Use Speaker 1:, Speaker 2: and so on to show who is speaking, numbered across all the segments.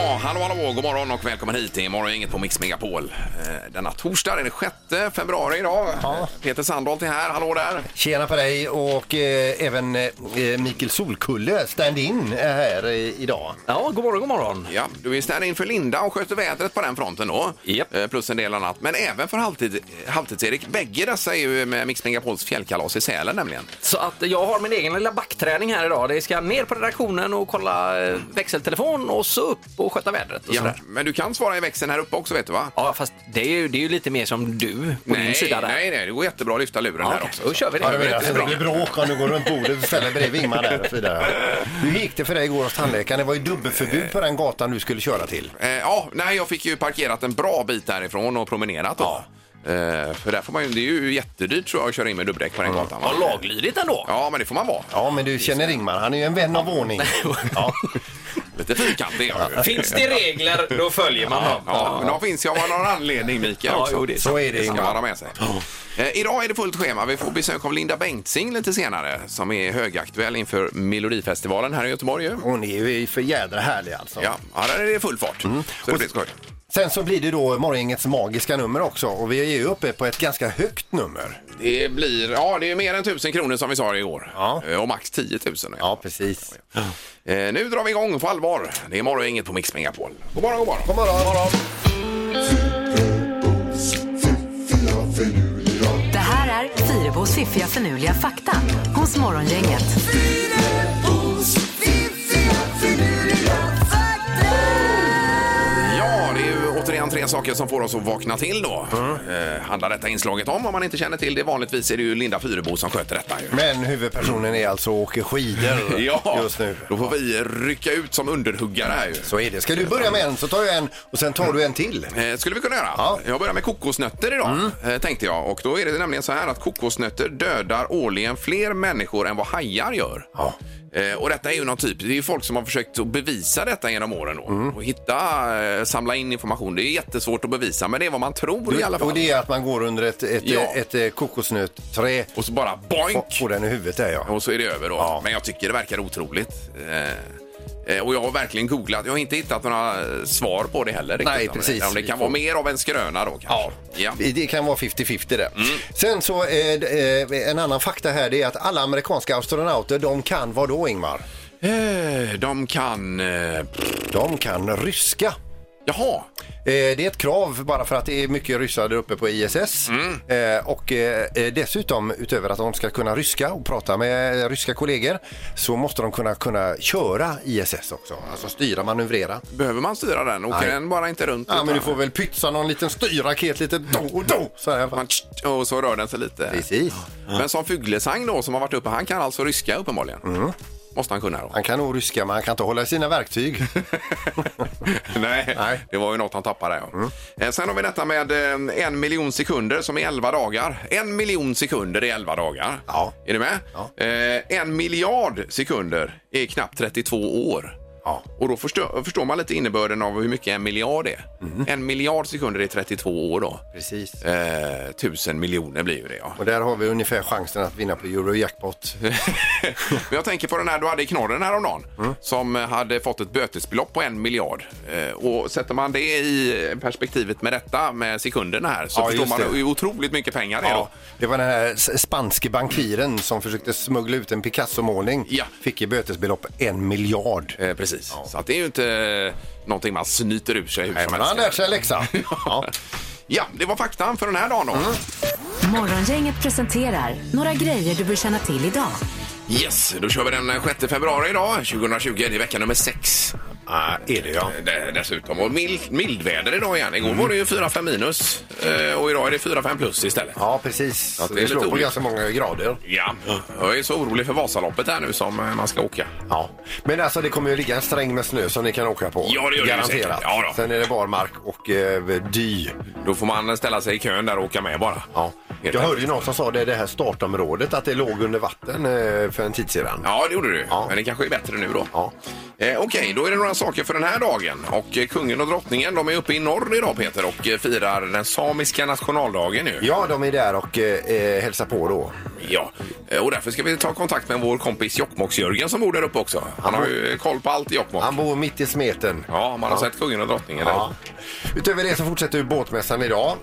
Speaker 1: så, god morgon och välkommen hit till morgon, inget på Mix Megapol. Eh, Denna torsdag, den 6 februari idag. Eh, Peter Sandholt är här, hallå där.
Speaker 2: Tjena på dig och eh, även eh, Mikael Solkulle, stand-in, är här eh, idag.
Speaker 3: Ja, god morgon, god morgon.
Speaker 1: Ja, du är stand in för Linda och sköter vädret på den fronten då.
Speaker 3: Japp.
Speaker 1: Eh, Plus en del annat. Men även för halvtid, halvtids-Erik. Bägge dessa är ju med Mix Megapols fjällkalas i Sälen nämligen.
Speaker 3: Så att jag har min egen lilla backträning här idag. Det ska ner på redaktionen och kolla eh, växeltelefon och så upp och sköta vädret och
Speaker 1: Ja,
Speaker 3: sådär.
Speaker 1: men du kan svara i växeln här uppe också vet du va?
Speaker 3: Ja, fast det är, ju, det är ju lite mer som du på din sida där.
Speaker 1: nej, nej, det går jättebra att lyfta luren
Speaker 3: Ja,
Speaker 1: här
Speaker 3: okej,
Speaker 1: också.
Speaker 3: då kör vi det.
Speaker 2: Ja, du menar, alltså, det
Speaker 1: Jättebra.
Speaker 2: blir bråk om du går runt bordet och ställer bredvid Ingmar där och så vidare. Hur gick det för dig igår hos tandläkaren? Det var ju dubbelförbud på den gatan du skulle köra till.
Speaker 1: Eh, ja, nej, jag fick ju parkerat en bra bit därifrån och promenerat då. Eh, för där får man ju, det är ju jättedyrt tror jag att köra in med dubbdäck på den gatan. va?
Speaker 3: Mm. Ja, laglydigt ändå.
Speaker 1: Ja, men det får man vara.
Speaker 2: Ja, men du känner Ingmar, han är ju en vän av ordning. Ja.
Speaker 1: Lite fyrkantig är jag ju.
Speaker 3: Finns det regler, då följer man dem.
Speaker 1: Ja, men de finns ju av någon anledning Mikael
Speaker 3: Ja,
Speaker 1: också.
Speaker 3: jo, det är
Speaker 2: Så är det
Speaker 1: ska man ha
Speaker 2: Ingmar.
Speaker 1: med sig. Eh, idag är det fullt schema. Vi får besök av Linda Bengtzing lite senare som är högaktuell inför Melodifestivalen här i Göteborg. ju.
Speaker 2: Hon är ju för jädra härlig alltså.
Speaker 1: Ja, ja, där är det full fart.
Speaker 3: Mm.
Speaker 1: Så det blir skoj.
Speaker 2: Sen så blir det då morgongängets magiska nummer också och vi är ju uppe på ett ganska högt nummer.
Speaker 1: Det blir, ja det är mer än 1000 kronor som vi sa igår.
Speaker 2: Ja.
Speaker 1: Eh, Och max 10 000. är det.
Speaker 2: Ja, precis.
Speaker 1: Eh, nu drar vi igång på allvar. Det är morgon inget på Mix Megapol. God morgon, god morgon.
Speaker 2: God morgon.
Speaker 4: Det här är Fyrabos fiffiga förnuliga fakta hos Morgongänget.
Speaker 1: Ja, det är ju återigen tre saker som får oss att vakna till då.
Speaker 2: Mm.
Speaker 1: Eh, handlar detta inslaget om, om man inte känner till det. Vanligtvis är det ju Linda Fyrebo som sköter detta. Ju.
Speaker 2: Men huvudpersonen är alltså och åker skidor
Speaker 1: Ja,
Speaker 2: Mm. just nu.
Speaker 1: då får vi rycka ut som underhuggare här ju.
Speaker 2: Så är det. Ska du börja med en så tar jag en och sen tar du en till.
Speaker 1: Eh, skulle vi kunna göra.
Speaker 2: Ja. Mm.
Speaker 1: Jag börjar med kokosnötter idag, eh, tänkte jag. Och då är det nämligen så här att kokosnötter dödar årligen fler människor än vad hajar gör.
Speaker 2: Ja.
Speaker 1: Eh, och detta är ju någon typ, det är ju folk som har försökt att bevisa detta genom åren då.
Speaker 2: Mm.
Speaker 1: Och hitta, eh, samla in information. Det är jättesvårt att bevisa, men det är vad man tror i alla fall.
Speaker 2: Och det är att man går under ett, ett,
Speaker 1: Ja.
Speaker 2: ett, eh, kokosnötträ
Speaker 1: Och så bara
Speaker 2: och
Speaker 1: boink!
Speaker 2: får den i huvudet där ja.
Speaker 1: Och så är det över då. Men jag tycker det verkar otroligt. Eh, eh, och jag har verkligen googlat. Jag har inte hittat några eh, svar på det heller. riktigt.
Speaker 2: Nej,
Speaker 1: Om det-
Speaker 2: precis.
Speaker 1: Om det
Speaker 2: Vi
Speaker 1: kan
Speaker 2: får-
Speaker 1: vara mer av en skröna då kanske. Ja.
Speaker 2: Det kan vara 50-50 där.
Speaker 1: Mm.
Speaker 2: Sen så är det, eh, en annan fakta här det är att alla amerikanska astronauter de kan vad då Ingmar?
Speaker 1: Eh, De kan... eh,
Speaker 2: De kan ryska.
Speaker 1: Jaha,
Speaker 2: Eh, Det är ett krav bara för att det är mycket ryssar där uppe på ISS. Eh, Och eh, eh, dessutom, utöver att de ska kunna ryska och prata med eh, ryska kollegor, så måste de kunna, kunna köra ISS också. Alltså styra, manövrera.
Speaker 1: behöver man styra den? Åker
Speaker 2: Nej.
Speaker 1: den bara inte runt?
Speaker 2: Ja,
Speaker 1: utan-
Speaker 2: men du får väl pytsa någon liten styrraket lite då och då. Så här.
Speaker 1: Man- tsch, Och så rör den sig lite.
Speaker 2: Precis.
Speaker 1: Men som Fuglesang då, som har varit uppe, han kan alltså ryska uppenbarligen. Måste han kunna då?
Speaker 2: Mm. Han kan nog ryska, men han kan inte hålla i sina verktyg.
Speaker 1: Nej,
Speaker 2: Nej. Mm.
Speaker 1: det var ju något han tappade. Ja. Eh, Sen har vi detta med eh, en miljon sekunder som är 11 dagar. En miljon sekunder är 11 dagar.
Speaker 2: Ja.
Speaker 1: Är du med?
Speaker 2: Ja.
Speaker 1: Eh, En miljard sekunder är knappt 32 år.
Speaker 2: Ja.
Speaker 1: Och då förstår, förstår man lite innebörden av hur mycket en miljard är. En miljard sekunder är 32 år då.
Speaker 2: Mm. Precis.
Speaker 1: Eh, tusen miljoner blir ju det ja.
Speaker 2: Och där har vi ungefär chansen att vinna på Eurojackpot.
Speaker 1: Men jag tänker på den här du hade i knorren häromdagen
Speaker 2: Mm.
Speaker 1: som hade fått ett bötesbelopp på en miljard. Eh, och sätter man det i perspektivet med detta med sekunderna här så
Speaker 2: Ja,
Speaker 1: förstår
Speaker 2: just
Speaker 1: man
Speaker 2: det.
Speaker 1: hur otroligt mycket pengar det är då.
Speaker 2: Ja, det var den här s- spanske bankiren som försökte smuggla ut en Picasso-målning.
Speaker 1: Ja.
Speaker 2: Fick i bötesbelopp en miljard.
Speaker 1: Eh, precis. Så att det är ju inte eh, någonting man snyter ur sig hur
Speaker 2: Nej,
Speaker 1: som
Speaker 2: men han har lärt
Speaker 1: helst.
Speaker 2: sig en läxa. Ja.
Speaker 1: Ja, det var faktan för den här dagen då.
Speaker 2: Mm.
Speaker 4: Morgongänget presenterar några grejer du bör känna till idag.
Speaker 1: Yes, då kör vi den 6 februari idag, 2020. Det är vecka nummer 6
Speaker 2: Ah, är det ja.
Speaker 1: dessutom. Och mild, mildväder idag igen. Igår var det ju 4-5 minus eh, och idag är det 4-5 plus istället.
Speaker 2: Ja, precis.
Speaker 1: Ja, det är
Speaker 2: det,
Speaker 1: lite
Speaker 2: slår på
Speaker 1: olika.
Speaker 2: ganska många grader.
Speaker 1: Ja, jag är så orolig för Vasaloppet här nu som eh, man ska åka.
Speaker 2: Ja. Men alltså det kommer ju ligga en sträng med snö som ni kan åka på.
Speaker 1: Ja, det gör det ju
Speaker 2: Garanterat.
Speaker 1: säkert. Ja, då.
Speaker 2: Sen är det barmark och eh, dy.
Speaker 1: Då får man ställa sig i kön där och åka med bara.
Speaker 2: Ja.
Speaker 1: Helt
Speaker 2: Jag
Speaker 1: enkelt.
Speaker 2: hörde ju någon som sa det, det här startområdet, att det låg under vatten eh, för en tid sedan.
Speaker 1: Ja, det gjorde du.
Speaker 2: Ja.
Speaker 1: Men det kanske är bättre nu då.
Speaker 2: Ja.
Speaker 1: Eh, Okej, då är det några saker för den här dagen. Och eh, kungen och drottningen, de är uppe i norr idag Peter och eh, firar den samiska nationaldagen nu.
Speaker 2: Ja, de är där och eh, eh, hälsar på då.
Speaker 1: Ja, eh, och därför ska vi ta kontakt med vår kompis Jokkmokks-Jörgen som bor där uppe också. Han har ju eh, koll på allt i Jokkmokk.
Speaker 2: Han bor mitt i smeten.
Speaker 1: Ja, man har sett Kungen och Drottningen. Ja.
Speaker 2: Utöver det så fortsätter ju båtmässan idag. Eh,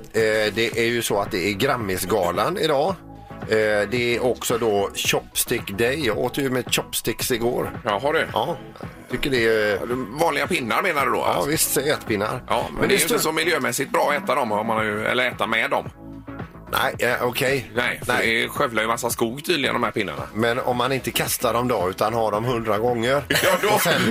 Speaker 2: det är ju så att det är Grammisgalan idag. Eh, det är också då Chopstick Day. Jag åt ju med chopsticks igår.
Speaker 1: Ja, har du?
Speaker 2: Ja, tycker det är...
Speaker 1: Vanliga pinnar menar du då?
Speaker 2: Ja, visst, ätpinnar.
Speaker 1: Ja, men, det är ju inte så miljömässigt bra att äta dem, om man har ju, eller äta med dem.
Speaker 2: Nej, eh, okej.
Speaker 1: Nej, för
Speaker 2: Nej.
Speaker 1: det skövlar ju massa skog tydligen, de här pinnarna.
Speaker 2: Men om man inte kastar dem då, utan har dem hundra gånger
Speaker 1: Ja, då-
Speaker 2: och, sen,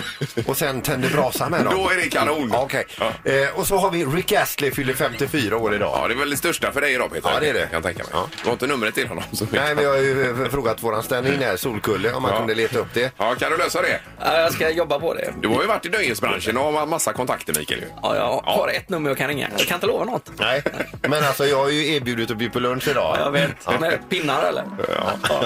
Speaker 2: och sen tänder brasan med dem.
Speaker 1: Då är det kanon.
Speaker 2: Ja, Okej.
Speaker 1: Ja.
Speaker 2: Eh, och så har vi Rick Astley fyller 54 år idag.
Speaker 1: Ja, det är väl det största för dig idag Peter?
Speaker 2: Ja, det är det.
Speaker 1: Kan jag tänka mig.
Speaker 2: Ja.
Speaker 1: Du har inte numret till honom? Så
Speaker 2: Nej, men jag har ju eh, frågat våran stand-in här, Solkulle, om man
Speaker 1: Ja.
Speaker 2: kunde leta upp det.
Speaker 1: Ja, kan du lösa det?
Speaker 3: Ja, jag ska jobba på det.
Speaker 1: Du har ju varit i nöjesbranschen och har massa kontakter Mikael. ju.
Speaker 3: Ja, jag har ett nummer jag kan ringa. Jag kan inte lova något.
Speaker 2: Nej, men alltså jag har ju erbjudit att bjuda på lunch idag.
Speaker 3: Ja, Jag vet. Med pinnar eller? Ja.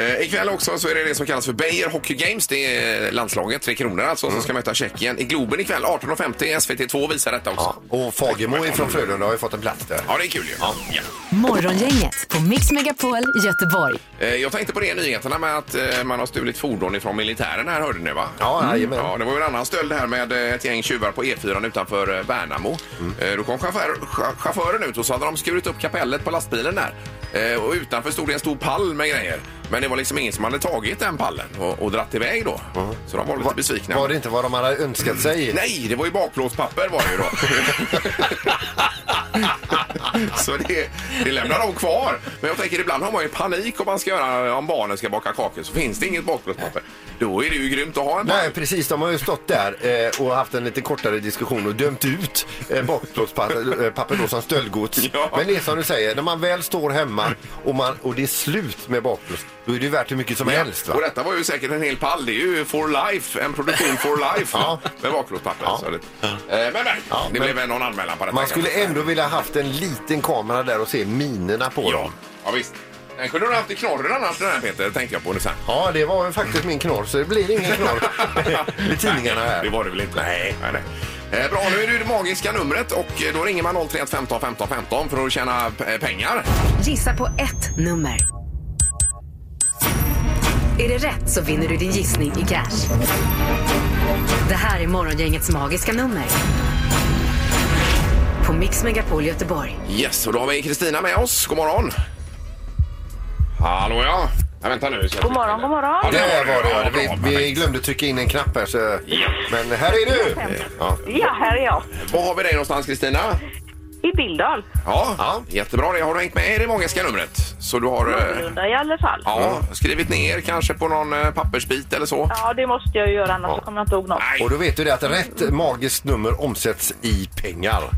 Speaker 1: Eh, ikväll också så är det det som kallas för Beijer Hockey Games. Det är landslaget, Tre Kronor alltså,
Speaker 2: Mm.
Speaker 1: som ska möta Tjeckien i Globen ikväll. 18.50 SVT2 visar detta också.
Speaker 2: Ja,
Speaker 1: Ja,
Speaker 2: Och Fagemo från Frölunda har ju fått en plats där.
Speaker 1: det är kul ju. Ja.
Speaker 4: Morgongänget på Mix Megapol Göteborg.
Speaker 1: Eh, Jag tänkte på det i nyheterna med att eh, man har stulit fordon ifrån militären här hörde ni va?
Speaker 2: Ja, jajamän.
Speaker 1: Mm. Ja, det var ju en annan stöld här med eh, ett gäng tjuvar på E4 utanför eh, Värnamo.
Speaker 2: Mm.
Speaker 1: Eh, Då kom chaufför, cha- chauffören ut och så hade de skurit upp kapellet på lastbilen där. Eh, Och utanför stod det en stor pall med grejer. Men det var liksom ingen som hade tagit den pallen och, och dratt iväg då. Så de var lite besvikna.
Speaker 2: Var det inte vad de hade önskat sig?
Speaker 1: Nej, det var ju bakplåtspapper var det ju då. så det, det lämnar de kvar. Men jag tänker ibland har man ju panik om man ska göra, om barnen ska baka kakor så finns det inget bakplåtspapper. Då är det ju grymt att ha en
Speaker 2: Nej, precis. De har ju stått där eh, och haft en lite kortare diskussion och dömt ut eh, bakplåtspapper eh, papper då som stöldgods.
Speaker 1: Ja.
Speaker 2: Men det är som du säger, när man väl står hemma och, man, och det är slut med bakplåt, då är det ju värt hur mycket som helst. Va?
Speaker 1: Och detta var ju säkert en hel pall. Det är ju For Life, en produktion For Life
Speaker 2: Ja.
Speaker 1: med bakplåtspapper. Så det, Eh, men men, det blev väl någon anmälan på detta.
Speaker 2: Man skulle
Speaker 1: kanske.
Speaker 2: ändå vilja haft en liten kamera där och se minerna på
Speaker 1: Ja,
Speaker 2: dem.
Speaker 1: ja visst. Den kunde du ha haft i knorren annars den här Peter, tänkte jag på nu sen.
Speaker 2: Ja, det var ju faktiskt min knorr, så det blir ingen knorr i tidningarna
Speaker 1: Nej, Det
Speaker 2: här.
Speaker 1: var det väl inte? Nej. nej, nej. Eh, bra, nu är det det magiska numret och eh, då ringer man 031 15 15 15 för att tjäna eh, pengar.
Speaker 4: Gissa på ett nummer. Är det rätt så vinner du din gissning i cash. Det här är Morgongängets magiska nummer. På Mix Megapol Göteborg.
Speaker 1: Yes, och då har vi Kristina med oss. God morgon! Hallå ja! Nej, vänta nu. Ska jag
Speaker 5: God morgon,
Speaker 1: trycka
Speaker 5: god morgon.
Speaker 1: in
Speaker 2: Där var det, ja.
Speaker 1: bra,
Speaker 2: Vi, vi
Speaker 1: perfekt.
Speaker 2: glömde trycka in en knapp här, så... men här är du! Ja.
Speaker 5: Ja, här är jag.
Speaker 1: Var har vi dig någonstans Kristina?
Speaker 5: I Billdal.
Speaker 1: Ja,
Speaker 2: Ja.
Speaker 1: jättebra det. Har du hängt med i det magiska numret? Så du har eh,
Speaker 5: Någorlunda i alla fall.
Speaker 1: ja, skrivit ner kanske på någon eh, pappersbit eller så?
Speaker 5: Ja, det måste jag ju göra, annars så kommer jag inte ihåg något.
Speaker 1: Nej,
Speaker 2: Och då vet du det att rätt magiskt nummer omsätts i pengar.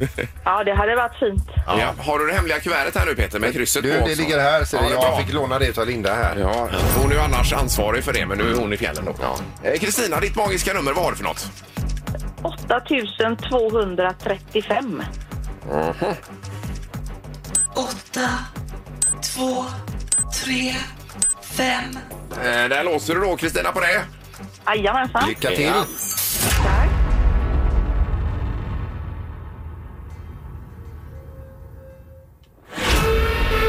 Speaker 5: Ja, det hade varit fint.
Speaker 1: ja. har du det hemliga kuvertet här nu Peter med krysset
Speaker 2: Du,
Speaker 1: på?
Speaker 2: det
Speaker 1: också?
Speaker 2: ligger här. Så
Speaker 1: Ja, det är bra.
Speaker 2: jag fick låna det av Linda här.
Speaker 1: Ja, hon är ju annars ansvarig för det, men nu är hon i fjällen då. Eh, Kristina, ditt magiska nummer, vad har du för något?
Speaker 5: 8235.
Speaker 6: 8, 2, 3, 5.
Speaker 1: Eh, där låser du då, Kristina, på det.
Speaker 5: Jajamensan.
Speaker 2: Lycka till!
Speaker 1: Ja.
Speaker 5: Tack.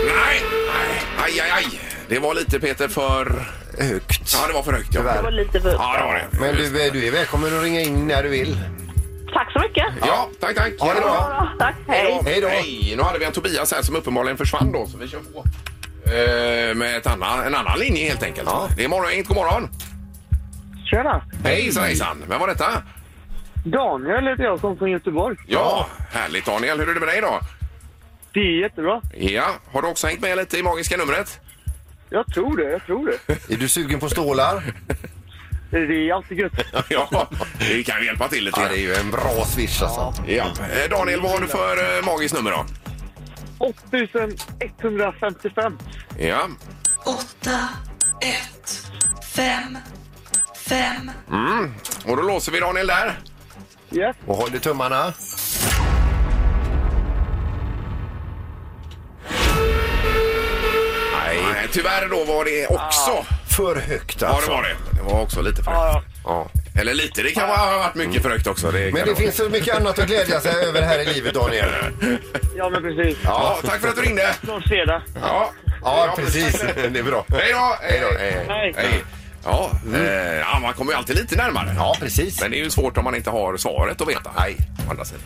Speaker 1: Nej! nej, Aj, aj, aj! Det var lite, Peter, för...
Speaker 2: Högt.
Speaker 1: Ja, det var för högt. Ja,
Speaker 5: Det var
Speaker 2: Tyvärr.
Speaker 5: lite för...
Speaker 1: ja det var det.
Speaker 2: Men du, eh, du är välkommen att ringa in när du vill.
Speaker 5: Tack så mycket.
Speaker 1: Ja, tack, tack.
Speaker 2: Ha det bra.
Speaker 5: Ja, tack. Hej.
Speaker 2: Hej då.
Speaker 1: Hej, nu hade vi en Tobias här som uppenbarligen försvann då, så vi kör på. Eh, med ett annan, en annan linje helt enkelt.
Speaker 2: Ja.
Speaker 1: Det är morgon, god morgon.
Speaker 7: Tjena!
Speaker 1: Hejsan, hejsan. Vem var detta?
Speaker 7: Daniel heter jag, kom från Göteborg.
Speaker 1: Ja, härligt Daniel. Hur är det med dig idag?
Speaker 7: Det är jättebra.
Speaker 1: Ja, har du också hängt med lite i magiska numret?
Speaker 7: Jag tror det, jag tror det.
Speaker 2: Är du sugen på stålar?
Speaker 7: Det är alltid gött.
Speaker 1: Ja, vi kan ju hjälpa till lite
Speaker 2: Ja,
Speaker 1: grann.
Speaker 2: det är ju en bra swish alltså.
Speaker 1: Ja. Eh, Daniel, vad har du för eh, magiskt nummer då?
Speaker 7: 8155.
Speaker 1: Ja.
Speaker 6: 8, 1, 5, 5.
Speaker 1: Mm. Och då låser vi Daniel där.
Speaker 7: Yes.
Speaker 2: Och håll i tummarna.
Speaker 1: Nej. tyvärr då var det också.
Speaker 2: För högt
Speaker 1: Ja,
Speaker 2: alltså.
Speaker 1: det var det. Det var också lite för högt.
Speaker 7: Ja,
Speaker 2: Ja.
Speaker 1: Eller lite, det kan vara- ha varit mycket för högt också. Det kan
Speaker 2: Men det
Speaker 1: vara.
Speaker 2: finns så mycket annat att glädja sig över här i livet, Daniel.
Speaker 7: ja, men precis.
Speaker 1: Ja, tack för att du ringde.
Speaker 7: Någon fredag.
Speaker 1: Ja,
Speaker 2: Ja, precis. Det är bra.
Speaker 1: Hej då!
Speaker 2: Hej då, hej, hej.
Speaker 7: Nej.
Speaker 1: Hej. Ja, eh, ja, man kommer ju alltid lite närmare.
Speaker 2: Ja, precis.
Speaker 1: Men det är ju svårt om man inte har svaret att veta. Nej. Andra sidan.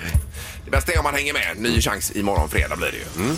Speaker 1: Det bästa är om man hänger med. Ny chans imorgon fredag blir det ju.
Speaker 2: Mm.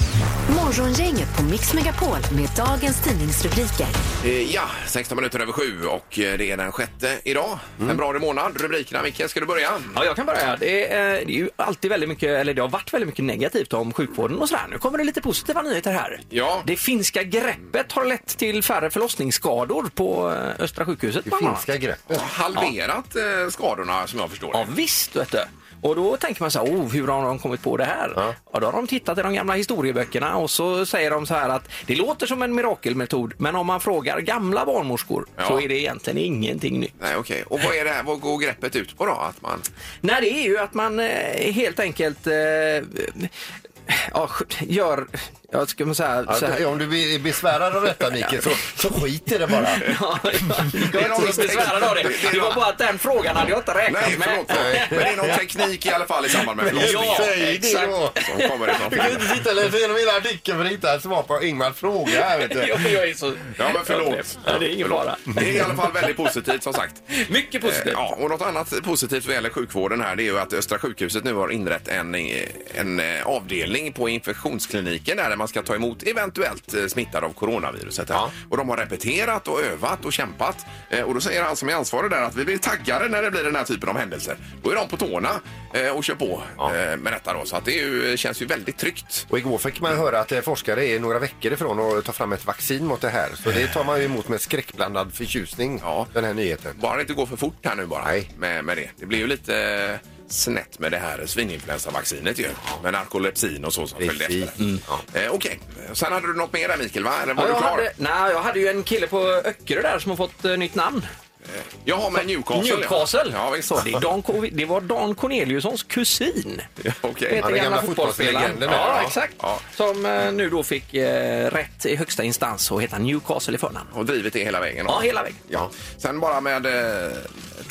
Speaker 4: Morgongänget på Mix Megapol med dagens tidningsrubriker.
Speaker 1: Eh, Ja, 16 minuter över sju och eh, det är den sjätte idag.
Speaker 2: Mm.
Speaker 1: Februari månad. Rubrikerna, Micke, ska du börja?
Speaker 3: Ja, jag kan börja. Det är, eh, det är ju alltid väldigt mycket, eller det har varit väldigt mycket negativt om sjukvården och sådär. Nu kommer det lite positiva nyheter här.
Speaker 1: Ja.
Speaker 3: Det finska greppet har lett till färre förlossningsskador på eh, Östra sjukhuset.
Speaker 2: Det
Speaker 3: bland annat.
Speaker 2: finska greppet.
Speaker 1: Halverat eh, skadorna som jag förstår det.
Speaker 3: Ja, visst vet du. Och då tänker man så här, oh, hur har de kommit på det här? Ja. då har de tittat i de gamla historieböckerna och så säger de så här att det låter som en mirakelmetod men om man frågar gamla barnmorskor så
Speaker 1: Ja.
Speaker 3: är det egentligen ingenting nytt.
Speaker 1: Nej, okej. Och vad, är det här, vad går greppet ut på då? Att man...
Speaker 3: Nej, det är ju att man eh, helt enkelt eh, ja, gör, jag ska man säga så här.
Speaker 2: Ja, om du blir besvärad av detta, Mikael, så, så skit i det bara.
Speaker 3: Ja, jag jag är
Speaker 1: någon
Speaker 3: inte så besvärad av
Speaker 1: Det- det
Speaker 3: det.
Speaker 1: är
Speaker 3: Det var
Speaker 1: någon-
Speaker 3: bara att den frågan hade jag inte räknat
Speaker 1: Nej, förlåt.
Speaker 3: med.
Speaker 1: Nej. Men det är någon teknik i alla fall i samband med förlossningen.
Speaker 3: Ja,
Speaker 2: Säg det då.
Speaker 1: Som kommer ifrån
Speaker 2: Du kan inte sitta och läsa igenom hela artikeln för att hitta ett svar på Ingmars fråga. Här, vet du.
Speaker 3: Jo, jag är så...
Speaker 1: Ja, men förlåt.
Speaker 3: Ja, det är ingen fara.
Speaker 1: Det är i alla fall väldigt positivt som sagt.
Speaker 3: Mycket
Speaker 1: Eh,
Speaker 3: positivt.
Speaker 1: Ja, och något annat positivt vad gäller sjukvården här det är ju att Östra sjukhuset nu har inrett en, eh, en eh, avdelning på infektionskliniken där man ska ta emot eventuellt eh, smittade av coronaviruset. Här. Och de har repeterat och övat och kämpat. Eh, Och då säger han som är ansvarig där att vi blir taggade när det blir den här typen av händelser. Då är de på tårna eh, och kör på eh, med detta då. Så att det är ju, eh, känns ju väldigt tryggt.
Speaker 2: Och igår fick man höra att eh, forskare är några veckor ifrån att ta fram ett vaccin mot det här. Så det tar man ju emot med skräckblandad förtjusning,
Speaker 1: Ja.
Speaker 2: den här nyheten.
Speaker 1: Bara det inte går för fort här nu bara.
Speaker 2: Nej.
Speaker 1: Med, med det. det blir ju lite eh, snett med det här svininfluensavaccinet ju. Med narkolepsin och så som följde efter.
Speaker 2: Precis. Mm.
Speaker 1: det. Eh, Okej, sen hade du något mer där Mikael va? Eller var
Speaker 3: Ja,
Speaker 1: du
Speaker 3: jag,
Speaker 1: klar?
Speaker 3: hade, nej, jag hade ju en kille på Öckerö där som har fått eh, nytt namn.
Speaker 1: Jaha, men Newcastle.
Speaker 3: Newcastle.
Speaker 1: Ja, ja visst.
Speaker 3: Så det, är Dan, Ko- det var Dan Corneliussons kusin.
Speaker 1: Ja, Okej.
Speaker 2: Ja, den gamla fotbollslegenden där,
Speaker 3: Ja,
Speaker 2: ja.
Speaker 3: exakt.
Speaker 1: Ja.
Speaker 3: Som eh, nu då fick eh, rätt i högsta instans och heter Newcastle i förnamn.
Speaker 1: Och drivit det hela vägen? då.
Speaker 3: Ja, hela vägen.
Speaker 1: Ja. Sen bara med eh,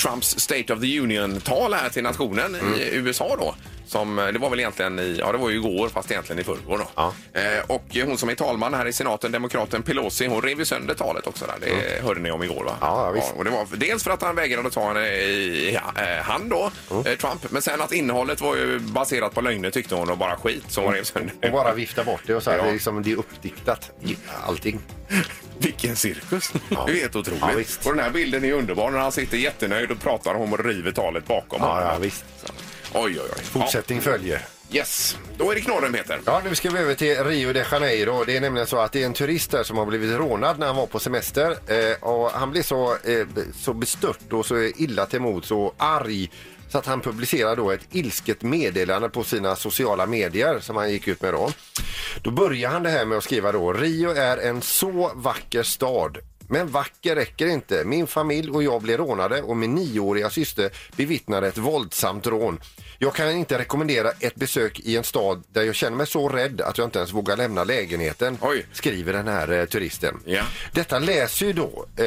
Speaker 1: Trumps State of the Union-tal här till nationen i
Speaker 2: Mm.
Speaker 1: USA då. Som, eh, det var väl egentligen i, ja det var ju igår fast egentligen i förrgår då.
Speaker 2: Ja.
Speaker 1: Eh, och hon som är talman här i senaten, demokraten Pelosi, hon rev ju sönder talet också där. Det hörde ni om igår va?
Speaker 2: Mm. Ja, ja, visst.
Speaker 1: och det var dels för att han vägrade att ta henne i eh, hand då,
Speaker 2: Mm.
Speaker 1: eh, Trump. Men sen att innehållet var ju baserat på lögner tyckte hon och bara skit som hon rev sönder.
Speaker 2: Och bara vifta bort det och så här,
Speaker 1: Ja.
Speaker 2: det, är liksom, det är uppdiktat, allting.
Speaker 1: Vilken cirkus!
Speaker 2: Ja.
Speaker 1: Det är helt
Speaker 2: Ja,
Speaker 1: otroligt.
Speaker 2: visst.
Speaker 1: och den här bilden är underbar när han sitter jättenöjd och pratar om och river talet bakom
Speaker 2: Ja,
Speaker 1: honom.
Speaker 2: ja, visst.
Speaker 1: Oj, oj, oj.
Speaker 2: Fortsättning följer.
Speaker 1: Ja, yes, då är det knorren Peter.
Speaker 2: Ja, nu ska vi över till Rio de Janeiro. Det är nämligen så att det är en turist där som har blivit rånad när han var på semester. Eh, och han blev så, eh, så bestört och så illa till mods och arg så att han publicerade då ett ilsket meddelande på sina sociala medier som han gick ut med då. Då börjar han det här med att skriva då Rio är en så vacker stad. Men vacker räcker inte. Min familj och jag blev rånade och min nioåriga syster bevittnade ett våldsamt rån. Jag kan inte rekommendera ett besök i en stad där jag känner mig så rädd att jag inte ens vågar lämna lägenheten,
Speaker 1: Oj.
Speaker 2: skriver den här eh, turisten.
Speaker 1: Ja.
Speaker 2: Detta läser ju då eh,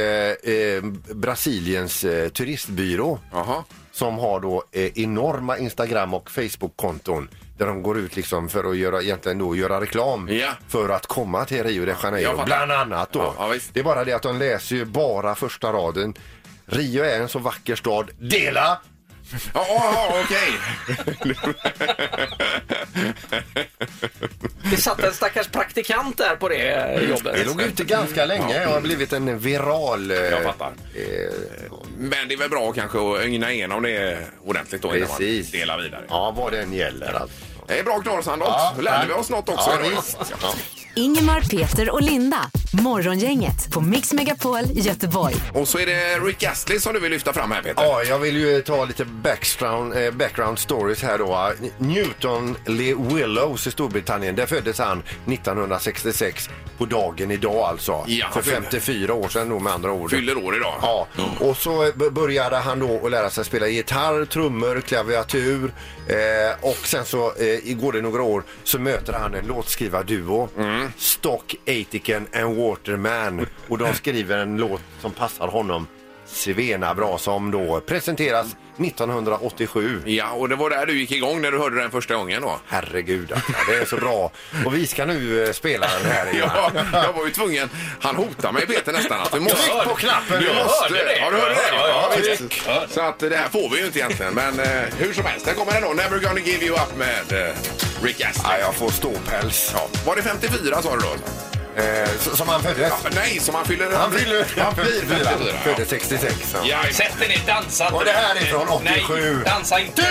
Speaker 2: eh, Brasiliens eh, turistbyrå
Speaker 1: Jaha.
Speaker 2: som har då eh, enorma Instagram och Facebook-konton där de går ut liksom för att göra, egentligen då, göra reklam
Speaker 1: Ja.
Speaker 2: för att komma till Rio de
Speaker 1: Jag
Speaker 2: Janeiro,
Speaker 1: fattar.
Speaker 2: bland annat. Då.
Speaker 1: Ja, ja, visst.
Speaker 2: det är bara det att de läser ju bara första raden. Rio är en så vacker stad. Dela!
Speaker 1: Ja, ja, ja, okej.
Speaker 3: Det satt en stackars praktikant där på det eh, jobbet.
Speaker 2: Det låg ute ganska länge och har blivit en viral... eh,
Speaker 1: Jag fattar.
Speaker 2: eh,
Speaker 1: Men det är väl bra kanske att ögna igenom det ordentligt då innan
Speaker 2: Precis.
Speaker 1: man delar vidare.
Speaker 2: ja, vad den gäller alltså.
Speaker 1: Det är bra knorr Sandholt.
Speaker 2: Ja,
Speaker 1: Lärde
Speaker 2: tack.
Speaker 1: vi oss något också
Speaker 2: Ja,
Speaker 1: idag?
Speaker 2: visst.
Speaker 1: Ja.
Speaker 4: Ingemar, Peter och Linda. Morgongänget på Mix Megapol Göteborg.
Speaker 1: Och så är det Rick Astley som du vill lyfta fram här Peter.
Speaker 2: Ja, jag vill ju ta lite background, eh, background stories här då. Newton Le Willows i Storbritannien, där föddes han 1966 på dagen idag alltså.
Speaker 1: Ja,
Speaker 2: För
Speaker 1: han fyllde-
Speaker 2: 54 år sedan då med andra ord.
Speaker 1: Fyller år idag.
Speaker 2: Ja, och så b- började han då att lära sig spela gitarr, trummor, klaviatur eh, och sen så eh, går det några år så möter han en låtskrivarduo,
Speaker 1: Mm.
Speaker 2: Stock Aitken and Waterman och de skriver en låt som passar honom svena bra som då presenteras 1987.
Speaker 1: Ja, och det var där du gick igång när du hörde den första gången då.
Speaker 2: Herregud, alltså, det är så bra. Och vi ska nu eh, spela den här. Ingmar.
Speaker 1: Ja, jag var ju tvungen. Han hotade mig Peter nästan att du måste...
Speaker 2: Tryck på knappen!
Speaker 1: Du
Speaker 2: nu.
Speaker 1: måste!
Speaker 8: hörde det.
Speaker 1: Ja, du hörde det?
Speaker 8: Ja, ja, ja,
Speaker 1: visst. Så att eh, det här får vi ju inte egentligen. Men eh, hur som helst, där kommer den då. Never gonna give you up med eh, Rick Astley.
Speaker 2: Ja, jag får ståpäls.
Speaker 1: Ja. Var det 54 sa du då?
Speaker 2: Eh, s- som han föddes.
Speaker 1: Ja, nej, som han fyller...
Speaker 2: Han fyller...
Speaker 1: Han blir 54. ja.
Speaker 2: Föddes 66. ja.
Speaker 1: Ja, exakt.
Speaker 8: Sätt dig ner, dansa
Speaker 2: Och det här Typ! är från 87.
Speaker 8: Nej, dansa inte.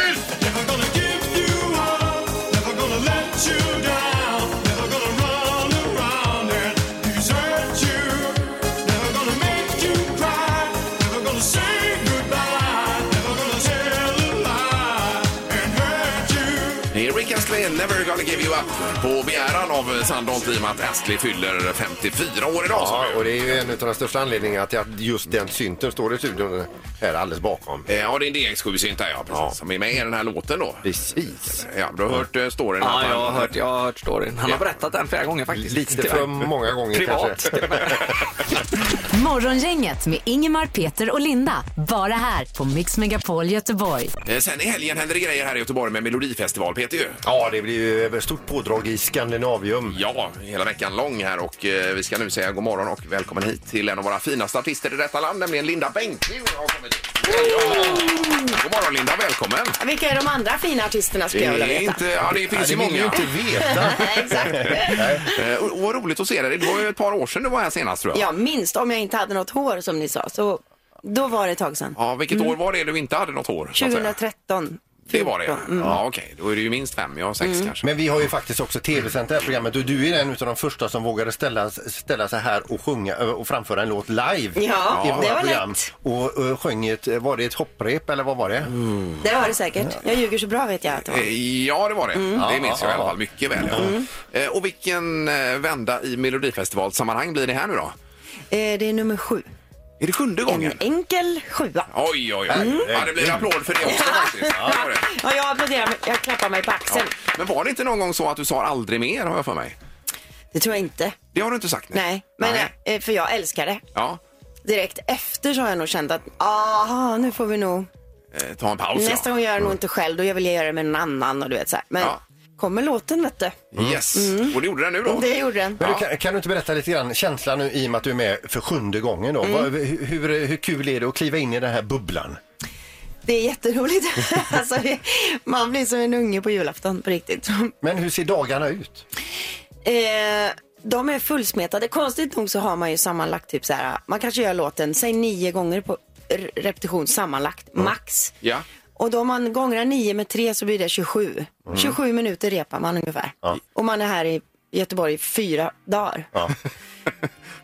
Speaker 1: Det är Rick Astley, Never gonna give you up. På begäran av Sandholt i och med att Astley fyller 54 år idag. sa
Speaker 2: Ja,
Speaker 1: du.
Speaker 2: och det är ju en av de största anledningarna till att just den synten står i studion här alldeles bakom.
Speaker 1: Eh, Ja, det är en DX7-synt där ja, precis. Som är med i den här låten då.
Speaker 2: Precis.
Speaker 1: Ja, du har hört eh, storyn? att
Speaker 3: Ja,
Speaker 1: han-
Speaker 3: jag har hört, jag har hört storyn. Han har berättat den flera gånger faktiskt.
Speaker 2: Lite för många gånger
Speaker 3: Privat
Speaker 2: kanske.
Speaker 3: till och med.
Speaker 4: Morgongänget med Ingemar, Peter och Linda. Bara här på Mix Megapol Göteborg.
Speaker 1: Eh, Sen i helgen händer det grejer här i Göteborg med Melodifestival, Peter ju.
Speaker 2: Ja, det blir ju ett stort pådrag i Skandinavium.
Speaker 1: Ja, hela veckan lång här och eh, vi ska nu säga god morgon och välkommen hit till en av våra finaste artister i detta land, nämligen Linda Bengtzing. har kommit hit. Ja! God morgon Linda, välkommen!
Speaker 9: Vilka är de andra fina artisterna skulle jag vilja
Speaker 1: Det, är
Speaker 9: veta?
Speaker 1: inte, ja, det finns ju
Speaker 2: vill
Speaker 1: många.
Speaker 2: ju inte veta.
Speaker 9: Nej, Exakt.
Speaker 1: Eh, och, och vad roligt att se dig. Det var ju ett par år sedan du var här senast tror jag.
Speaker 9: Ja, minst om jag inte hade något hår som ni sa. Så då var det ett tag sedan.
Speaker 1: Ja, vilket år var det du inte hade något hår? så att säga?
Speaker 9: 2013.
Speaker 1: Det var det?
Speaker 9: Mm.
Speaker 1: Ja, okej. Då är det ju minst fem, ja sex kanske.
Speaker 2: Men vi har ju faktiskt också tv-sänt det här programmet och du är en av de första som vågade ställa, ställa sig här och sjunga ö, och framföra en låt live.
Speaker 9: Ja,
Speaker 2: i
Speaker 9: det
Speaker 2: våra
Speaker 9: var
Speaker 2: program.
Speaker 9: lätt.
Speaker 2: Och, och sjöng ett, var det ett hopprep eller vad var det?
Speaker 9: Det var det säkert. Jag ljuger så bra vet jag att det var.
Speaker 1: Eh, Ja, det var det. Det minns jag i alla fall mycket väl. Ja. Eh, Och vilken eh, vända i Melodifestivalsammanhang blir det här nu då?
Speaker 9: Eh, Det är nummer sju.
Speaker 1: Är det sjunde gången?
Speaker 9: En enkel sjua.
Speaker 1: Oj, oj, oj. Ja, det blir en applåd för det också faktiskt. Ja, det var det.
Speaker 9: Ja, jag applåderar, men jag klappar mig på
Speaker 1: Ja.
Speaker 9: axeln.
Speaker 1: Men var det inte någon gång så att du sa aldrig mer har jag för mig?
Speaker 9: Det tror jag inte.
Speaker 1: Det har du inte sagt?
Speaker 9: Nej, men
Speaker 1: Nej.
Speaker 9: eh, för jag älskar det.
Speaker 1: Ja,
Speaker 9: Direkt efter så har jag nog känt att, aha, nu får vi nog
Speaker 1: eh, ta en paus.
Speaker 9: Nästa
Speaker 1: ja.
Speaker 9: gång gör jag det nog inte själv, då vill jag göra det med någon annan och du vet så här. Men
Speaker 1: Mm. Ja.
Speaker 9: kommer låten vet du.
Speaker 1: Yes, och det gjorde den nu då?
Speaker 9: Det gjorde den.
Speaker 2: Men du, kan, kan du inte berätta lite grann känslan nu i och med att du är med för sjunde gången
Speaker 9: Mm.
Speaker 2: då? Vad- hur, hur, hur kul är det att kliva in i den här bubblan?
Speaker 9: Det är jätteroligt. alltså, det- man blir som en unge på julafton på riktigt.
Speaker 2: Men hur ser dagarna ut?
Speaker 9: Eh, de är fullsmetade. Konstigt nog så har man ju sammanlagt typ så här, man kanske gör låten, säg nio gånger på r- repetition sammanlagt, max.
Speaker 1: Ja.
Speaker 9: Och då om man gångrar nio med tre så blir det 27. 27 minuter repar man ungefär. Och man är här i Göteborg i fyra dagar.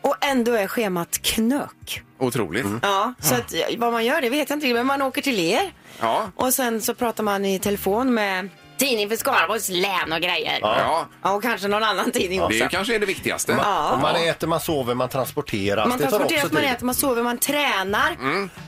Speaker 9: och ändå är schemat knök.
Speaker 1: Otroligt.
Speaker 9: Ja, så att, vad man gör det vet jag inte riktigt, men man åker till er
Speaker 1: Ja.
Speaker 9: och sen så pratar man i telefon med tidning för Skaraborgs län och grejer. Ja.
Speaker 1: Ja.
Speaker 9: och kanske någon annan tidning
Speaker 1: Det
Speaker 9: också.
Speaker 1: är ju kanske är det viktigaste.
Speaker 2: Och man äter, man sover, man transporteras.
Speaker 9: Man
Speaker 2: Det tar
Speaker 9: transporteras,
Speaker 2: också
Speaker 9: man
Speaker 2: tid.
Speaker 9: äter, man sover, man tränar.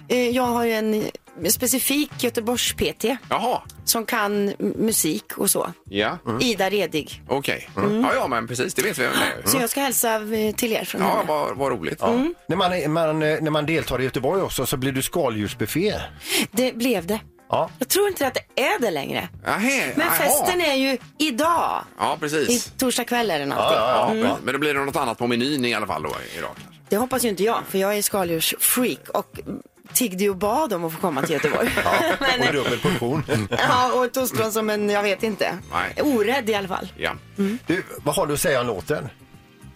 Speaker 9: Eh, Jag har ju en specifik Göteborgs-PT
Speaker 1: Jaha,
Speaker 9: som kan m- musik och så.
Speaker 1: ja,
Speaker 9: Ida Redig.
Speaker 1: okej. Ja, ja, men precis, det vet vi. Mm.
Speaker 9: Så jag ska hälsa eh, till er från
Speaker 1: Ja,
Speaker 9: henne.
Speaker 1: vad, vad roligt.
Speaker 2: När man, är- man, eh, när man deltar i Göteborg också så blir du skaldjursbuffé.
Speaker 9: Det blev det.
Speaker 2: Ja.
Speaker 9: Jag tror inte att det är det längre.
Speaker 1: Ahä,
Speaker 9: Men
Speaker 1: aha.
Speaker 9: festen är Mm. ju idag.
Speaker 1: Ja,
Speaker 9: I
Speaker 1: precis.
Speaker 9: torsdag kväll är den alltid.
Speaker 1: Ja, men- Men då blir det något annat på menyn i alla fall då idag. kanske.
Speaker 9: Det hoppas ju inte jag, för jag är skaldjursfreak och tiggde ju och bad om att få komma till Göteborg. Men,
Speaker 2: Och dubbel portion.
Speaker 1: Mm,
Speaker 9: ja, och ett ostron som en, jag vet inte.
Speaker 1: Nej.
Speaker 9: Orädd i alla fall.
Speaker 1: Ja.
Speaker 2: Du, vad har du att säga om låten?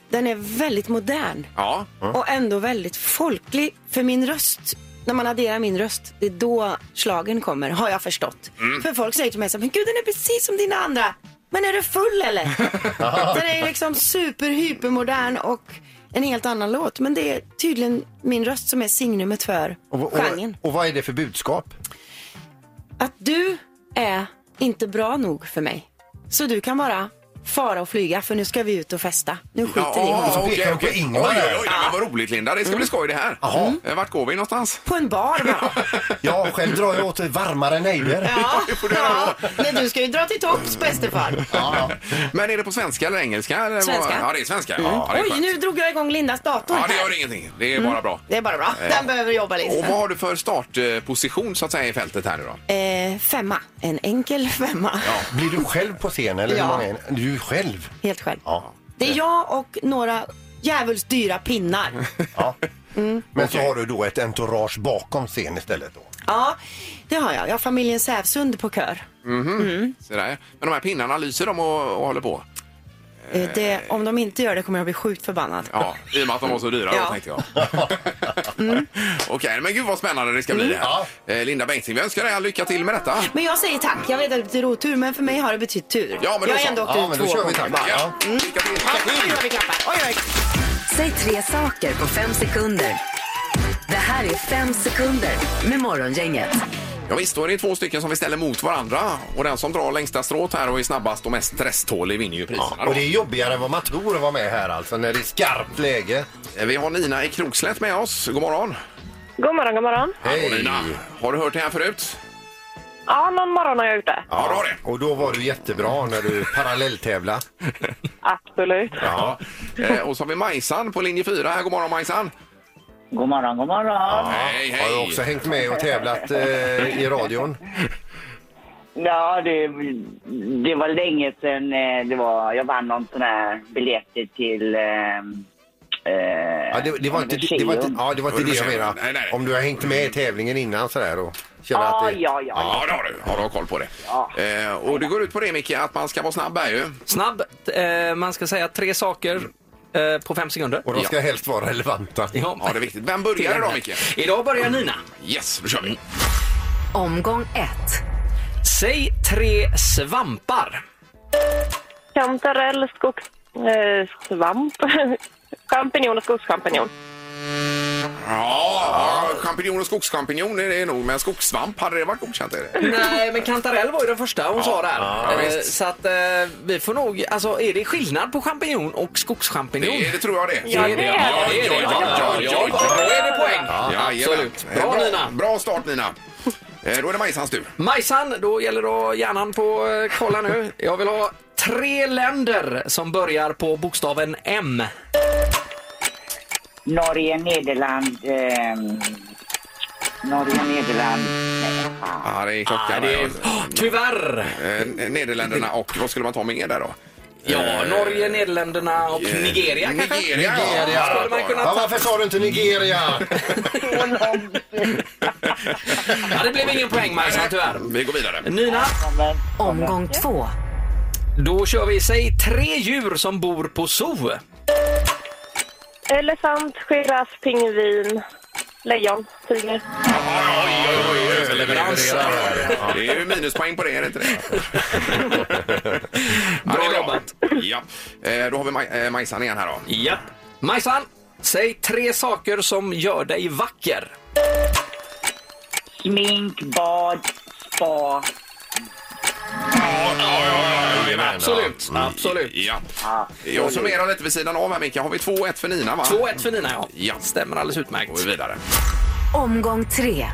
Speaker 9: Den är väldigt modern
Speaker 1: Ja.
Speaker 9: och ändå väldigt folklig. För min röst, när man adderar min röst, det är då slagen kommer, har jag förstått.
Speaker 2: Mm.
Speaker 9: För folk säger till mig så här, men gud den är precis som dina andra. Men är du full eller? den är liksom superhypermodern och en helt annan låt. Men det är tydligen min röst som är signumet för
Speaker 2: Och, och,
Speaker 9: genren.
Speaker 2: och vad är det för budskap?
Speaker 9: att du är inte bra nog för mig. Så du kan bara fara och flyga för nu ska vi ut och festa. Nu skiter vi i honom.
Speaker 2: Så pekar
Speaker 1: okej,
Speaker 2: de på
Speaker 1: okej.
Speaker 2: Ingmar
Speaker 1: Oj, oj,
Speaker 2: där.
Speaker 1: oj, men vad roligt Linda. Det ska
Speaker 9: Mm.
Speaker 1: bli skoj det här. Eh, Vart går vi någonstans?
Speaker 9: På en bar bara.
Speaker 2: Ja, själv drar jag åt varmare nejder.
Speaker 9: Ja,
Speaker 1: det får du göra då.
Speaker 9: Men du ska ju dra till tops bäste far.
Speaker 1: Men är det på svenska eller engelska? Eller vad-
Speaker 9: Svenska. Mm.
Speaker 1: Ja, det är svenska. Ja, det är
Speaker 9: Oj,
Speaker 1: skönt.
Speaker 9: nu Mm. drog jag igång Lindas dator
Speaker 1: Ja, det
Speaker 9: här.
Speaker 1: gör ingenting. Det är bara bra.
Speaker 9: Det är bara bra. Den behöver jobba
Speaker 1: Och
Speaker 9: lite.
Speaker 1: vad har du för startposition så att säga i fältet här nu då?
Speaker 9: Eh, femma. En enkel femma.
Speaker 2: Blir du själv på scen eller
Speaker 9: Ja.
Speaker 2: hur många är ni? Du själv?
Speaker 9: Helt själv.
Speaker 2: Ja.
Speaker 9: Det är jag och några djävulskt dyra pinnar.
Speaker 2: ja.
Speaker 1: Mm.
Speaker 2: Men så har du då ett entourage bakom scen istället då?
Speaker 9: Ja, det har jag. Jag har familjen Sävsund på kör.
Speaker 1: Så där. Men de här pinnarna, lyser de och, och håller på?
Speaker 9: Eh, Det, om de inte gör det kommer jag bli sjukt förbannad.
Speaker 1: Ja, i och med att de var så dyra då
Speaker 9: Ja.
Speaker 1: tänkte jag. Okej, men gud vad spännande det ska bli det här. Eh, Linda Bengtzing, vi önskar dig all lycka till med detta.
Speaker 9: Men jag säger tack. Jag vet att det betyder otur, men för mig har det betytt tur.
Speaker 1: Ja, men då
Speaker 9: jag har
Speaker 1: så.
Speaker 9: ändå åkt
Speaker 2: Ja,
Speaker 9: ut
Speaker 2: men
Speaker 9: två
Speaker 2: då kör vi
Speaker 9: gånger.
Speaker 2: tack.
Speaker 1: Ja.
Speaker 2: Ja.
Speaker 1: Lycka till! Lycka
Speaker 9: Oj,
Speaker 1: till!
Speaker 9: vad det klappar. Mm. Oj, oj.
Speaker 4: Säg tre saker på fem sekunder. Det här är fem sekunder med Morgongänget.
Speaker 1: Ja, visst, då är det två stycken som vi ställer mot varandra. Och den som drar längsta strået här och är snabbast och mest stresstålig vinner ju priserna.
Speaker 2: Och det är jobbigare än vad man tror att vara med här alltså när det är skarpt läge.
Speaker 1: då. Eh, Vi har Nina i Krokslätt med oss. God morgon!
Speaker 5: God morgon, god morgon.
Speaker 1: Hallå, Nina! Har du hört det här förut?
Speaker 5: Ja, någon morgon har jag gjort det.
Speaker 1: Ja, du har det.
Speaker 2: Och då var du jättebra när du parallelltävla.
Speaker 5: Absolut.
Speaker 1: Ja. Eh, och så har vi Majsan på linje 4 här. God morgon Majsan!
Speaker 7: God morgon, god morgon.
Speaker 1: Hej,
Speaker 2: Har du också hängt med och tävlat eh, i radion?
Speaker 7: Ja, det, det var länge sedan eh, det var, jag vann någon sån här biljetter till... ehm, Eh,
Speaker 2: Ja, det, det, var inte, det, det, var inte, ja, det var inte det jag
Speaker 1: Nej, nej.
Speaker 2: menade. Om du har hängt med i tävlingen innan sådär och känner att
Speaker 7: ja,
Speaker 2: det...
Speaker 7: ja, ja.
Speaker 1: Ja, det har du. Ja, du har koll på det.
Speaker 7: Ja.
Speaker 1: Eh, och det går ut på det, Micke, att man ska vara snabb här ju.
Speaker 3: Snabb. Eh, man ska säga tre saker eh, på fem sekunder.
Speaker 2: Och de ska helst vara relevanta.
Speaker 1: Ja, det är viktigt. Vem börjar idag, Micke?
Speaker 3: Idag börjar Nina.
Speaker 1: Yes, då kör vi.
Speaker 4: Omgång ett.
Speaker 3: Säg tre svampar.
Speaker 5: Kantarell, skogs... Eh, svamp. Champinjon och skogschampinjon.
Speaker 1: Ja, champinjon och skogschampinjon är det nog, men skogssvamp, hade det varit godkänt? Är det?
Speaker 3: Nej, men kantarell var ju den första hon sa där.
Speaker 1: ja,
Speaker 3: Eh,
Speaker 1: visst.
Speaker 3: så att eh, vi får nog... Alltså, är det skillnad på champinjon och skogschampinjon?
Speaker 1: Det, är, det tror jag det.
Speaker 5: Ja, det är det.
Speaker 1: Ja,
Speaker 3: det är det.
Speaker 1: Ja, ja, ja, ja, ja.
Speaker 3: Då är det poäng.
Speaker 1: Ja,
Speaker 3: absolut.
Speaker 1: jajamän.
Speaker 3: Bra,
Speaker 1: Eh,
Speaker 3: Nina.
Speaker 1: Bra start, Nina. Eh, Då är det Majsans tur.
Speaker 3: Majsan, då gäller det att hjärnan på... eh, Kolla nu. Jag vill ha tre länder som börjar på bokstaven M.
Speaker 7: Norge, Nederland... ehm, Norge, Nederland... Nej, fan.
Speaker 1: Ja, det är klockan.
Speaker 3: Ah, det är, Åh, tyvärr!
Speaker 1: Eh, Nederländerna och vad skulle man ta med där då?
Speaker 3: Ja, Norge, Nederländerna och Nigeria kanske?
Speaker 1: Eh, Nigeria, ja.
Speaker 2: Nigeria.
Speaker 1: Skulle man kunna-
Speaker 2: Ja, varför sa du inte Nigeria?
Speaker 3: Ja, det blev ingen poäng Majsan tyvärr.
Speaker 1: Vi går vidare.
Speaker 3: Nina,
Speaker 4: Omgång två.
Speaker 3: då kör vi. Säg tre djur som bor på zoo.
Speaker 5: Elefant, giraff, pingvin, lejon, tiger.
Speaker 1: Leverans. Det är ju minuspoäng på det, är det inte det? Ja, det är
Speaker 3: Bra jobbat.
Speaker 1: Ja. Eh, Då har vi Maj- eh, Majsan igen här då.
Speaker 3: Japp. Majsan, säg tre saker som gör dig vacker.
Speaker 7: Smink, bad, spa.
Speaker 3: Absolut, absolut.
Speaker 1: Ja. Jag summerar lite vid sidan av här Micke. Har vi 2-1 för Nina va?
Speaker 3: 2-1 för Nina, ja.
Speaker 1: Ja.
Speaker 3: Stämmer alldeles
Speaker 1: Går vi
Speaker 3: utmärkt.
Speaker 1: vidare.
Speaker 4: Omgång tre.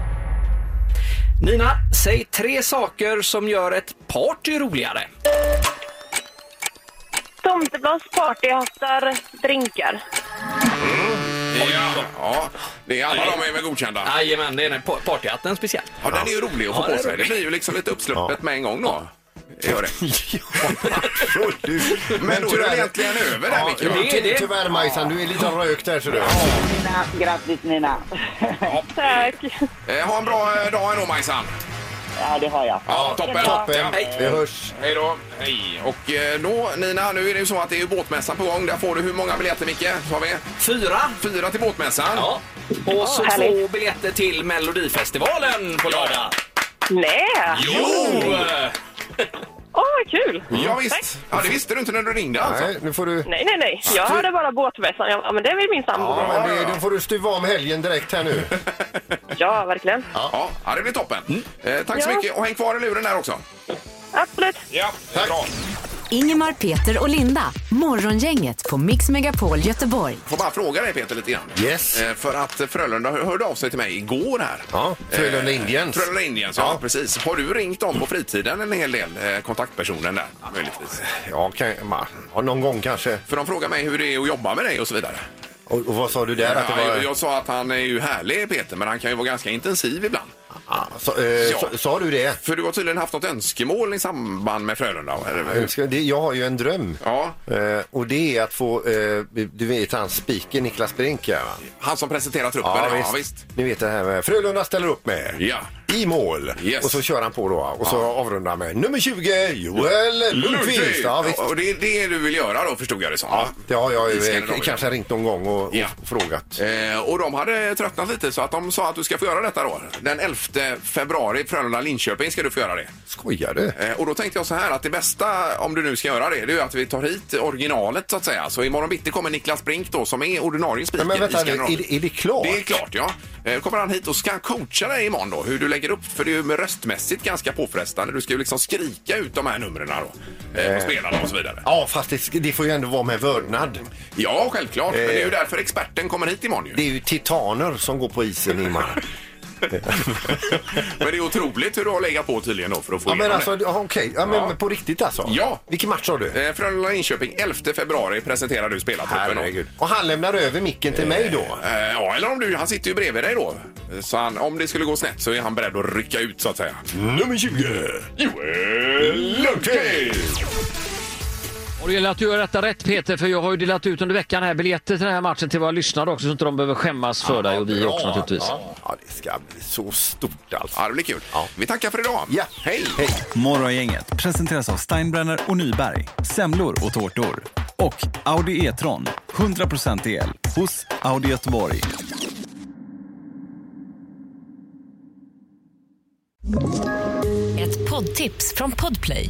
Speaker 3: Nina, säg tre saker som gör ett party roligare.
Speaker 5: Tomtebloss, partyhattar, drinkar.
Speaker 1: Ja. ja. Det är alla de är väl godkända.
Speaker 3: Jajamän, det är den pa- partyhatten speciellt.
Speaker 1: Ja, den är ju rolig att få
Speaker 3: Ja, den
Speaker 1: på
Speaker 3: är
Speaker 1: sig. Det
Speaker 3: rolig.
Speaker 1: blir ju liksom lite uppsluppet med en gång då. Det Gör det. Men då är det egentligen över där Micke va?
Speaker 3: det är det.
Speaker 2: Tyvärr Majsan, du är lite rökt där ser du.
Speaker 7: Nina, grattis Nina.
Speaker 5: Tack.
Speaker 1: Eh, Ha en bra eh, dag ändå Majsan.
Speaker 7: Ja, det har jag.
Speaker 1: Ja, toppen.
Speaker 2: Toppen,
Speaker 1: Ja.
Speaker 2: vi hörs.
Speaker 1: Hej då! Hej! Och eh, då, Nina, nu är det ju så att det är ju båtmässan på gång. Där får du hur många biljetter, Micke? Sa vi?
Speaker 3: Fyra.
Speaker 1: Fyra till båtmässan.
Speaker 3: Ja. Och så
Speaker 5: härligt.
Speaker 3: två biljetter till Melodifestivalen på lördag.
Speaker 5: Nej!
Speaker 1: Jo!
Speaker 5: Åh, vad kul!
Speaker 1: Ja, visst. Ja, det visste du inte när du ringde alltså.
Speaker 2: Nej, nu får du...
Speaker 5: Nej, nej, nej. Jag hörde bara båtmässan. Jag- Ja, men det vill min sambo.
Speaker 2: Ja,
Speaker 5: Ja.
Speaker 2: men det, då får du stuva om helgen direkt här nu.
Speaker 5: verkligen.
Speaker 1: Ja, ja det
Speaker 2: Mm.
Speaker 1: blir toppen. Eh, tack så
Speaker 5: Ja.
Speaker 1: mycket. Och häng kvar i luren där också.
Speaker 5: Absolut.
Speaker 1: Ja, tack. bra.
Speaker 4: Ingemar, Peter och Linda. Morgongänget på Mix Megapol Göteborg.
Speaker 1: Får bara fråga dig Peter lite grann.
Speaker 2: Yes.
Speaker 1: Eh, För att Frölunda hörde av sig till mig igår här. Eh,
Speaker 2: Ja, Frölunda Indians.
Speaker 1: Frölunda Indians, ja,
Speaker 2: Ja.
Speaker 1: precis. Har du ringt dem på fritiden en hel del, eh, kontaktpersonen där möjligtvis?
Speaker 2: Ja, kan, man, ja, någon gång kanske.
Speaker 1: För de frågar mig hur det är att jobba med dig och så vidare.
Speaker 2: Och, och vad sa du där? att det
Speaker 1: Ja,
Speaker 2: var,
Speaker 1: jag, jag sa att han är ju härlig Peter, men han kan ju vara ganska intensiv ibland.
Speaker 2: Ah, sa- eh,
Speaker 1: Ja.
Speaker 2: sa- sa du det?
Speaker 1: För du har tydligen haft något önskemål i samband med Frölunda.
Speaker 2: Jag
Speaker 1: Eller?
Speaker 2: ska- det- Jag har ju en dröm.
Speaker 1: Ja.
Speaker 2: Eh, och det är att få, eh, du vet han spiker Niklas Brink ja, va?
Speaker 1: Han som presenterar truppen.
Speaker 2: Ni vet det här med Frölunda ställer upp med.
Speaker 1: Ja.
Speaker 2: I mål.
Speaker 1: Yes.
Speaker 2: Och så kör han på då och så avrundar han med nummer 20 Joel Lundqvist. Ja, visst.
Speaker 1: Och det är det du vill göra då förstod jag det som. va?
Speaker 2: Det har jag
Speaker 1: I
Speaker 2: ju eh,
Speaker 1: Skandinavien.
Speaker 2: kanske ringt någon gång och, och
Speaker 1: Ja.
Speaker 2: frågat.
Speaker 1: Eh, och de hade tröttnat lite så att de sa att du ska få göra detta då. Den 11 februari, Frölunda-Linköping ska du få göra det.
Speaker 2: Skojar du?
Speaker 1: Eh, och då tänkte jag så här att det bästa om du nu ska göra det, det är ju att vi tar hit originalet så att säga. Så imorgon bitti kommer Niklas Brink då som är ordinarie speaker
Speaker 2: Men, men
Speaker 1: i
Speaker 2: vänta, nu,
Speaker 1: Skandinavien.
Speaker 2: är, det- är det klart?
Speaker 1: Det är klart, ja. Eh, kommer han hit och ska coacha dig imorgon då, hur du lägger upp. För det är ju med röstmässigt ganska påfrestande. Du ska ju liksom skrika ut de här numren då. Eh, på spelarna och så vidare.
Speaker 2: Ja, fast det, det får ju ändå vara med vördnad.
Speaker 1: Ja, självklart. Men det är ju därför experten kommer hit imorgon ju.
Speaker 2: Eh. Det är ju titaner som går på isen, Ingmar.
Speaker 1: Men det är otroligt hur du har legat på tydligen då för att få
Speaker 2: Ja,
Speaker 1: igenom
Speaker 2: men alltså,
Speaker 1: det.
Speaker 2: ja, okej. Ja, men
Speaker 1: Ja.
Speaker 2: men på riktigt alltså?
Speaker 1: Ja.
Speaker 2: Vilken match har du?
Speaker 1: Eh, Frölunda Linköping, 11 februari presenterar du spelartruppen. då.
Speaker 2: Och han lämnar över micken till mig då?
Speaker 1: Eh, Ja, eller om du, han sitter ju bredvid dig då. Eh, Så han, om det skulle gå snett så är han beredd att rycka ut så att säga.
Speaker 2: Nummer 20!
Speaker 1: Joel Lundqvist!
Speaker 8: Och det gäller att du gör detta rätt Peter, för jag har ju delat ut under veckan här biljetter till den här matchen till våra lyssnare också så inte de behöver skämmas för dig och vi också naturligtvis.
Speaker 2: Ja, ja, det ska bli så stort alltså.
Speaker 1: Ja, det blir kul. Vi tackar för idag.
Speaker 2: Ja,
Speaker 1: Hej!
Speaker 2: hej.
Speaker 10: Morgongänget presenteras av Steinbrenner och Nyberg. Semlor och tårtor. Och Audi E-tron. 100% el hos Audi Göteborg.
Speaker 11: Ett poddtips från Podplay.